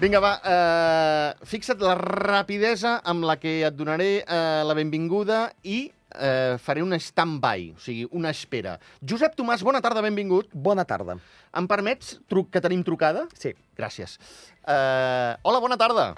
Vinga, va, eh, fixa't la rapidesa amb la que et donaré eh, la benvinguda i eh, faré un stand-by, o sigui, una espera. Josep Tomàs, bona tarda, benvingut. Bona tarda. Em permets truc que tenim trucada? Sí. Gràcies. Eh, hola, bona tarda.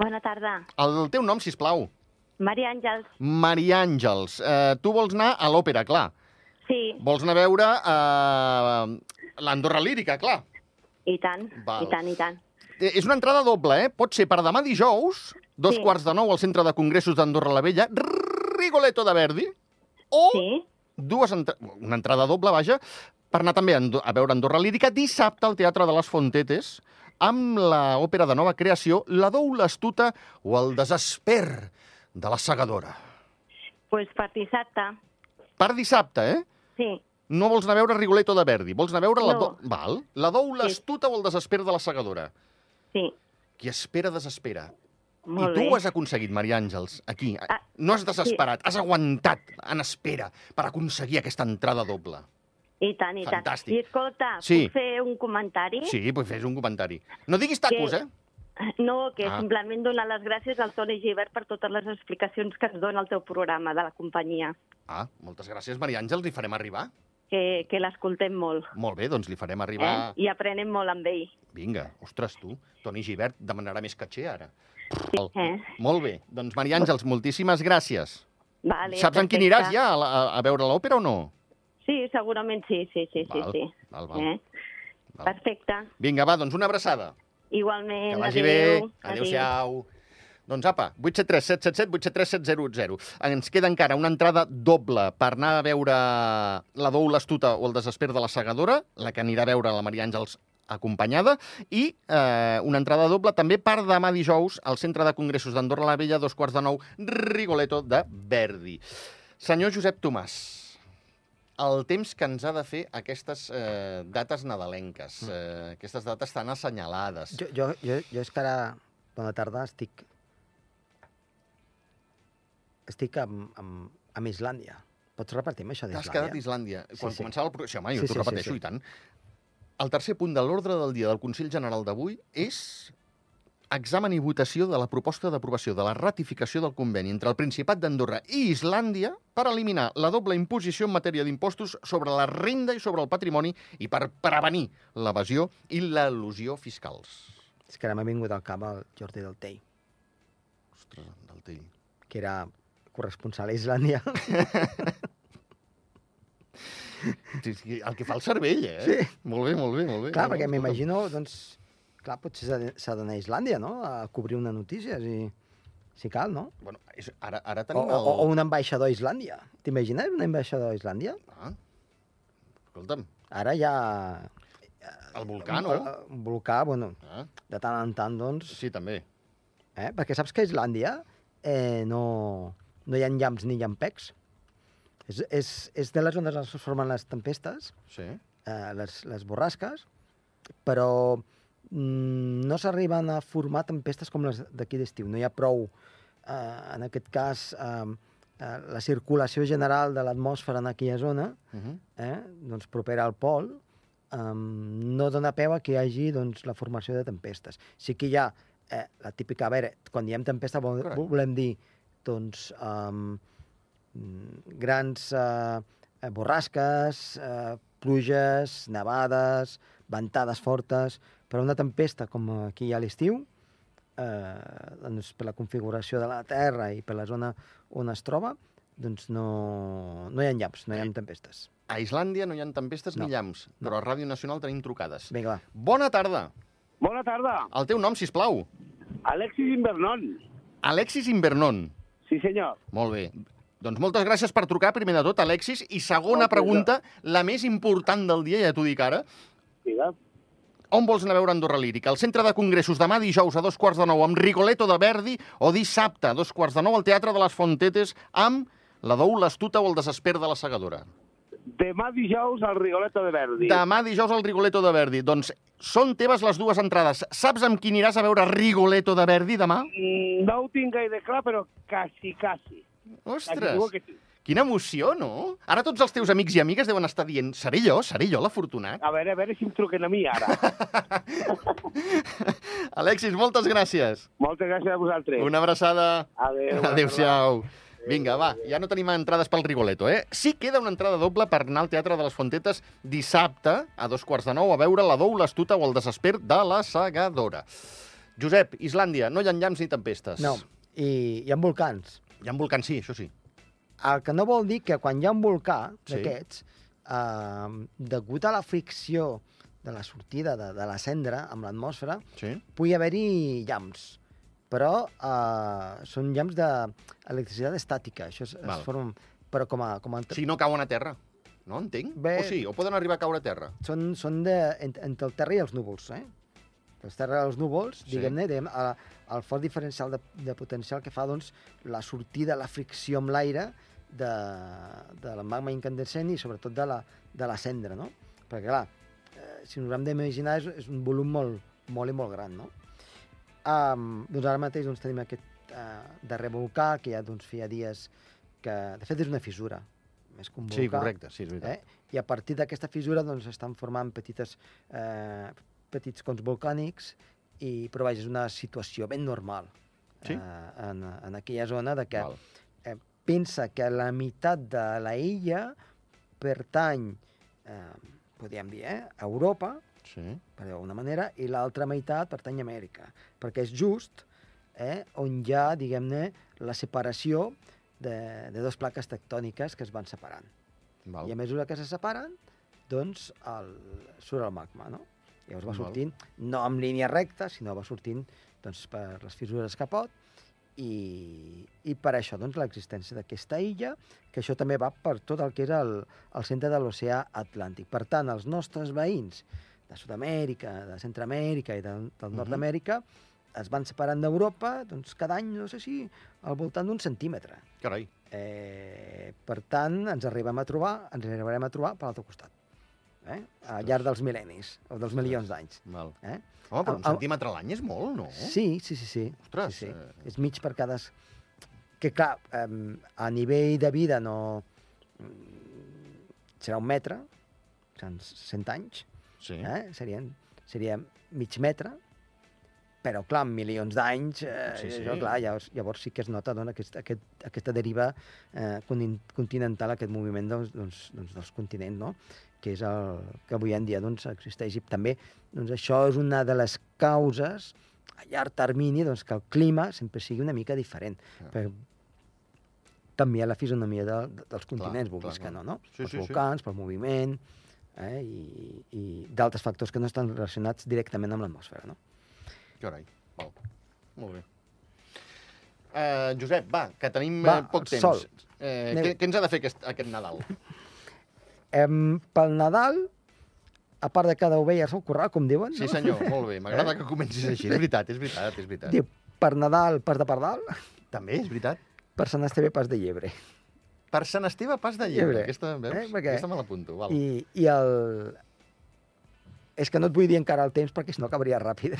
Bona tarda. El teu nom, si plau. Maria Àngels, Maria Àngels. Eh, tu vols anar a l'òpera, clar. sí, Vols anar a veure eh, l'Andorra Lírica, clar. i tant, Val. i tant, i tant. Eh, És una entrada doble, eh? Pot ser per demà dijous, dos Sí. quarts de nou al Centre de Congressos d'Andorra la Vella, Rigoletto de Verdi, o Sí? dues entra... una entrada doble, vaja, per anar també a, Ando- a veure Andorra Lírica dissabte al Teatre de les Fontetes amb l'òpera de nova creació La Dou l'Astuta o El Desesper de la Segadora. Pues per dissabte, Per dissabte, eh? sí, No vols anar a veure Rigoletto de Verdi, vols anar a veure la, No. do... Val. la Dou l'Astuta o El Desesper de la Segadora. sí, Qui espera, desespera. molt I tu bé. ho has aconseguit, Maria Àngels, aquí. Ah, no has desesperat, has aguantat en espera per aconseguir aquesta entrada doble. I tant, i tant. Fantàstic. I escolta, Sí. puc fer un comentari? Sí, doncs fes un comentari. No diguis tacos, Sí. eh? No, que Ah. ah. simplement donar les gràcies al Toni Givert per totes les explicacions que ens dona el teu programa de la companyia, Ah, moltes gràcies, Maria Àngels, li farem arribar. que, que l'escoltem molt. Molt bé, doncs li farem arribar... Eh? I aprenem molt amb ell. Vinga, ostres, tu, Toni Givert demanarà més caché ara. Eh? Molt bé, doncs Maria Àngels, moltíssimes gràcies. Vale, Saps en quin perfecte. iràs ja, a, la- a, a veure l'òpera o no? Sí, segurament sí, sí, sí, sí. Val, sí. val, val, Eh? val. Perfecte. Vinga, va, doncs una abraçada. Igualment, Que vagi adéu. bé. Adéu-siau. Doncs apa, 873-777-873-700. Ens queda encara una entrada doble per anar a veure la Dou, l'Astuta o el Desesper de la Segadora, la que anirà a veure la Maria Àngels acompanyada, i eh, una entrada doble també per demà dijous al Centre de Congressos d'Andorra la Vella, dos quarts de nou, Rigoletto de Verdi. Senyor Josep Tomàs, el temps que ens ha de fer aquestes eh, dates nadalenques, eh, aquestes dates tan assenyalades. Jo, jo, jo, jo és que ara, bona tarda, estic... Estic amb, amb, amb Islàndia. Pots repartir-me això T'has d'Islàndia? quedat a Islàndia. Quan sí. començava el programa... Sí, home, jo Sí, t'ho sí, sí, repeteixo, sí. i tant. El tercer punt de l'ordre del dia del Consell General d'avui és examen i votació de la proposta d'aprovació de la ratificació del conveni entre el Principat d'Andorra i Islàndia per eliminar la doble imposició en matèria d'impostos sobre la renda i sobre el patrimoni i per prevenir l'evasió i l'elusió fiscals. És que ara m'ha vingut al cap el Jordi del Tei, Ostres, del tell. que era corresponsal a Islàndia. Sí, sí, El que fa el cervell, eh? Sí. Molt bé, molt bé, molt bé. No, no, clar, perquè escolta'm. m'imagino, doncs... Clar, potser s'ha de- s'ha d'anar a Islàndia, no? A cobrir una notícia, si, si cal, no? Bueno, és, ara, ara O, tenim o, el... o un ambaixador a Islàndia. T'imagines un ambaixador a Islàndia? Ah. Escolta'm, Ara ja... el volcà, no? Un volcà, bueno, Ah, de tant en tant, doncs... sí, també. Eh? Perquè saps que a Islàndia eh, no, no hi ha llamps ni llampecs. És, és, és de les zones on es formen les tempestes, Sí. eh, les, les borrasques, però mm, no s'arriben a formar tempestes com les d'aquí d'estiu. No hi ha prou, eh, en aquest cas, eh, eh, la circulació general de l'atmosfera en aquella zona, Uh -huh. eh, doncs, propera al pol, eh, no dona peu a que hi hagi doncs, la formació de tempestes. Sí que hi ha eh, la típica... A veure, quan diem tempesta vol, Correcte. volem dir doncs, eh, grans eh, eh, borrasques, eh, pluges, nevades, ventades fortes, però una tempesta com aquí a l'estiu, eh, doncs, per la configuració de la Terra i per la zona on es troba, doncs no, no hi ha llamps, no hi ha tempestes. A Islàndia no hi ha tempestes no. No. ni llamps, no. però a Ràdio Nacional tenim trucades. Bé. Vinga, va. Bona tarda. Bona tarda. El teu nom, si plau. Alexis Invernon. Alexis Invernon. Sí, senyor. Molt bé. Doncs moltes gràcies per trucar, primer de tot, Alexis. I segona Moltes pregunta, la més important del dia, ja t'ho dic ara. Digue'm. On vols anar a veure Andorra Lírica? Al Centre de Congressos demà dijous a dos quarts de nou amb Rigoletto de Verdi o dissabte a dos quarts de nou al Teatre de les Fontetes amb la Dou, l'Astuta o el Desesper de la Segadora? Demà dijous al Rigoletto de Verdi. Demà dijous al Rigoletto de Verdi. Doncs són teves les dues entrades. Saps amb qui aniràs a veure Rigoletto de Verdi demà? Mm, No ho tinc gaire clar, però quasi, quasi. Quasi Ostres! segur que sí. Quina emoció, no? Ara tots els teus amics i amigues deuen estar dient seré jo, seré jo l'afortunat. A veure, a veure si em truquen a mi ara. Alexis, moltes gràcies. Moltes gràcies a vosaltres. Una abraçada. Adéu. bona Adéu-siau. Vinga, va, ja no tenim entrades pel Rigoletto, eh? Sí queda una entrada doble per anar al Teatre de les Fontetes dissabte a dos quarts de nou a veure la Dou, l'Astuta o el Desesper de la Segadora. Josep, Islàndia, no hi ha llamps ni tempestes. No, i hi ha volcans. Hi ha volcans, sí, això sí. El que no vol dir que quan hi ha un volcà Sí. d'aquests, eh, degut a la fricció de la sortida de, de la cendra amb l'atmosfera, Sí? pugui haver-hi llamps. Però eh, són llamps d'electricitat estàtica. Això es, Val. es formen, però com a, com a Si no cauen a terra. No entenc. Bé. O sí, o poden arribar a caure a terra. són, són de, ent, entre el terra i els núvols, eh? Els terra i els núvols, Sí. diguem-ne, diguem, el, el fort diferencial de, de potencial que fa, doncs, la sortida, la fricció amb l'aire de, de la magma incandescent i, sobretot, de la, de la cendra, no? Perquè, clar, eh, si ens ho hem d'imaginar, és, és un volum molt, molt i molt gran, no? Um, doncs ara mateix doncs, tenim aquest uh, darrer volcà, que ja doncs, feia dies que... De fet, és una fissura, més que un volcà. Sí, correcte, sí, és veritat. Eh? I a partir d'aquesta fissura doncs, estan formant petites, eh, petits cons volcànics, i, però vaja, és una situació ben normal Sí. eh, en, en aquella zona de que Val. eh, pensa que la meitat de la illa pertany, eh, podríem dir, eh, a Europa, Sí. per d'alguna manera, i l'altra meitat pertany a Amèrica, perquè és just eh, on hi ha, diguem-ne, la separació de, de dues plaques tectòniques que es van separant. Val. I a mesura que se separen, doncs el, surt el magma, no? Llavors va Val. sortint, no amb línia recta, sinó va sortint doncs, per les fissures que pot, i, i per això doncs, l'existència d'aquesta illa, que això també va per tot el que era el, el centre de l'oceà Atlàntic. Per tant, els nostres veïns de Sud-amèrica, de Centroamèrica i de, del Mhm. Nord-amèrica es van separant d'Europa doncs, cada any, no sé si, al voltant d'un centímetre. Carai. Eh, per tant, ens arribem a trobar, ens arribarem a trobar per l'altre costat. Eh? Al llarg dels mil·lennis, o dels milions d'anys. Val. Eh? Home, però Au, un au. centímetre a l'any és molt, no? Sí, sí, sí, sí. Oh. Ostres, sí, sí. eh. És mig per cada... Que, clar, eh, a nivell de vida no... mm, Serà un metre, seran 100 anys, Sí. eh? Serien, seria mig metre, però, clar, amb milions d'anys, eh, Sí, sí. sí, sí. clar, llavors, llavors sí que es nota doncs, aquest, aquest, aquesta deriva eh, contin- continental, aquest moviment doncs, doncs, doncs, dels continents, no? que és el que avui en dia doncs, existeix. I també doncs, això és una de les causes a llarg termini doncs, que el clima sempre sigui una mica diferent. Clar. Per canviar la fisonomia de, de, dels continents, vulguis clar, que no, clar. no? Sí, pels sí, sí. volcans, pel moviment eh? i, i d'altres factors que no estan relacionats directament amb l'atmosfera. No? Carai. Val. Molt bé. Uh, Josep, va, que tenim Va, eh, poc el temps. sol. Eh, Anem. què, què ens ha de fer aquest, aquest Nadal? Em, pel Nadal, a part de cada ovella al seu corral, com diuen, Sí, no? senyor, molt bé. M'agrada que comencis així. És veritat, és veritat, és veritat. Eh? diu per Nadal, pas de pardal, També és veritat. per Sant Esteve, pas de llebre. Per Sant Esteve, pas de llebre. Llebre. Aquesta, veus? Eh, perquè- Aquesta me l'apunto. Val. I, i el... És que no et vull dir encara el temps perquè si no acabaria ràpid.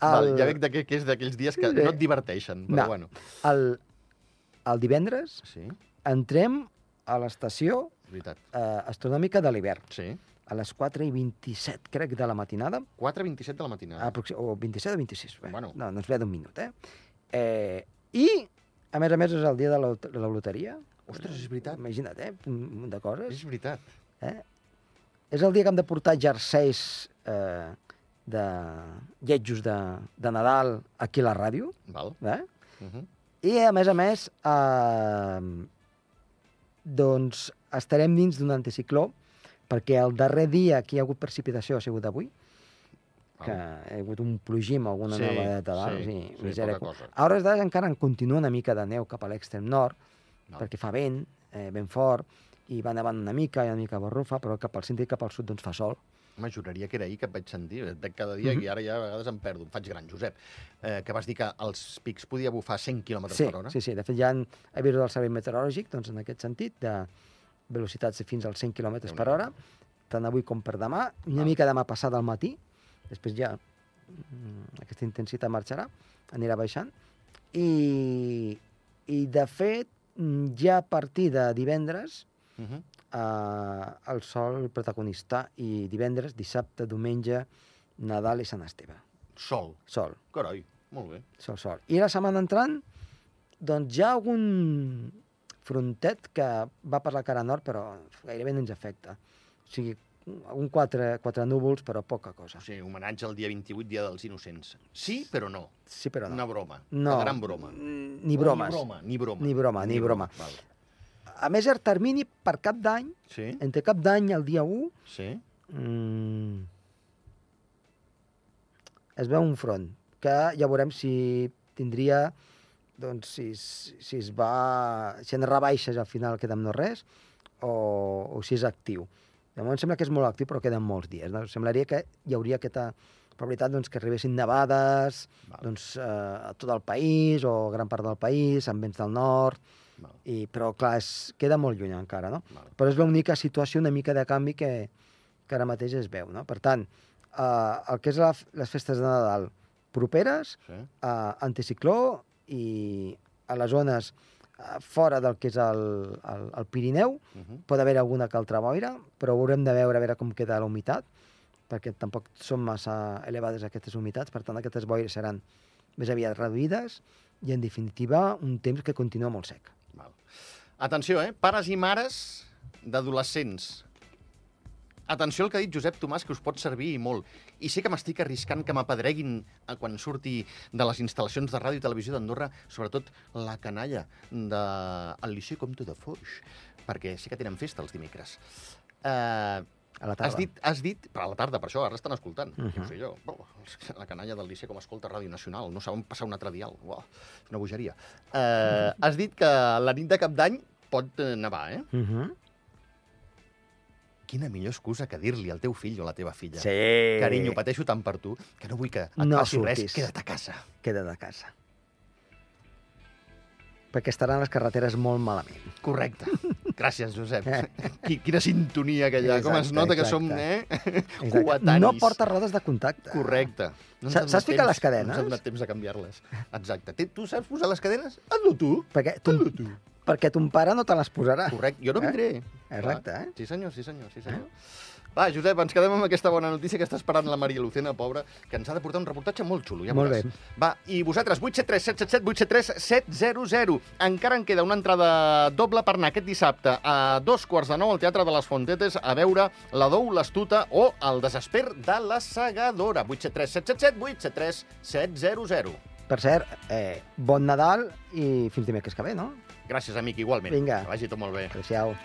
Val, ja veig de què, que és d'aquells dies que Sí. no et diverteixen, però No. bueno. el, el divendres Sí, és entrem a l'estació veritat. eh, astronòmica de l'hivern, Sí. a les 4 i 27, crec, de la matinada, 4.27 de la matinada. aproxi- o 27 o 26, bé, Ah. Bueno. bueno. no, no ens ve d'un minut, eh? eh? I, a més a més, és el dia de la, lot- la loteria. Ostres, és veritat. Imagina't, eh? Un munt de coses. És veritat. És el dia que hem de portar jerseis eh, de lletjos de, de Nadal aquí a la ràdio. Val. Eh? Uh -huh. I, a més a més, eh, doncs estarem dins d'un anticicló perquè el darrer dia que hi ha hagut precipitació ha sigut avui, que Val. hi ha hagut un plogim, alguna Sí, nevadeta dalt, sí, sí, sí, misèria. poca cosa. A hores d'ara encara en continua una mica de neu cap a l'extrem nord, Val. perquè fa vent, eh, ben fort, i va nevant una mica, i una mica borrufa, però cap al centre i cap al sud doncs fa sol. Home, juraria que era ahir que et vaig sentir. Et veig cada Mhm. dia mm -hmm. i ara ja a vegades em perdo. Em faig gran, Josep. Eh, que vas dir que als pics podia bufar 100 km Sí, per hora. sí, sí, de fet ja han avisos del servei meteorològic, doncs en aquest sentit, de velocitats de fins als 100 km per hora, tant avui com per demà, una Val. mica demà passat al matí, després ja mm, aquesta intensitat marxarà, anirà baixant, i, I, de fet, mm, ja a partir de divendres, Uh -huh. eh, el sol protagonista, i divendres, dissabte, diumenge, Nadal i Sant Esteve. Sol. Sol, Carai, molt bé. sol, sol. I la setmana entrant, doncs hi ha algun frontet que va per la cara nord, però gairebé no ens afecta. O sigui, un quatre, quatre núvols, però poca cosa. O sigui, homenatge al dia 28, dia dels innocents. Sí, però no. Sí, però Però no. no. Una broma. No. Una gran broma. Mm, Ni bromes. Ni broma, ni broma. Ni broma, ni broma. Val. A més, el termini per cap d'any, Sí, entre cap d'any i el dia 1, sí. mm, es veu un front, que ja veurem si tindria, doncs, si, es- si es va... si en rebaixes al final queda amb no res, o, o si és actiu. De moment sembla que és molt actiu, però queden molts dies. No? Semblaria que hi hauria aquesta probabilitat doncs, que arribessin nevades Val. doncs, eh, a tot el país o gran part del país, amb vents del nord, Val. i, però clar, es, queda molt lluny encara, no? Val. Però és l'única situació una mica de canvi que, que ara mateix es veu, no? Per tant, eh, el que és la, f- les festes de Nadal properes, Sí. eh, anticicló i a les zones eh, fora del que és el, el, el Pirineu, Uh -huh. pot haver alguna que altra boira, però haurem de veure a veure com queda la humitat, perquè tampoc són massa elevades aquestes humitats, per tant, aquestes boires seran més aviat reduïdes i, en definitiva, un temps que continua molt sec. Val. Atenció, eh? Pares i mares d'adolescents. Atenció al que ha dit Josep Tomàs, que us pot servir i molt. I sé que m'estic arriscant que m'apedreguin eh, quan surti de les instal·lacions de ràdio i televisió d'Andorra, sobretot la canalla del de... el Liceu Comte de Foix, perquè sé que tenen festa els dimecres. Eh, A la tarda. Has dit, has dit, però a la tarda, per això, ara estan escoltant. Uh Mhm. -huh. jo, ho sé jo, Bo, la canalla del Liceu com escolta Ràdio Nacional, no saben passar un altre dial. Uau, és una bogeria. Eh, has dit que la nit de cap d'any pot eh, nevar, eh? Uh -huh. Quina millor excusa que dir-li al teu fill o a la teva filla. Sí. Carinyo, pateixo tant per tu que no vull que et No passi res, surtis. queda't a casa. Queda de casa. Perquè estaran les carreteres molt malament. Correcte. Gràcies, Josep. Qui- Quina sintonia que hi ha. Com es Exacte, nota que Eh. exacte. som, eh? Exacte. Coetanis. No porta rodes de contacte. Correcte. ens Sa- ha donat saps ficar temps- les cadenes? No ens ha donat temps de canviar-les. Exacte. Té- Tu saps posar les cadenes? Hazlo tu. Perquè Hazlo ton, tu. perquè ton pare no te les posarà. Correcte. Jo no Eh? vindré. Exacte, eh? Sí, senyor, sí, senyor, sí, senyor. Va, Josep, ens quedem amb aquesta bona notícia que està esperant la Maria Lucena, pobra, que ens ha de portar un reportatge molt xulo, ja Molt veuràs. bé. Va, i vosaltres, 873 777 873 700. Encara en queda una entrada doble per anar aquest dissabte a dos quarts de nou al Teatre de les Fontetes a veure la Dou, l'Astuta o el Desesper de la Segadora. 873 777 873 700. Per cert, eh, bon Nadal i fins dimecres que ve, no? Gràcies, amic, igualment. Vinga. Que vagi tot molt bé. Adéu-siau.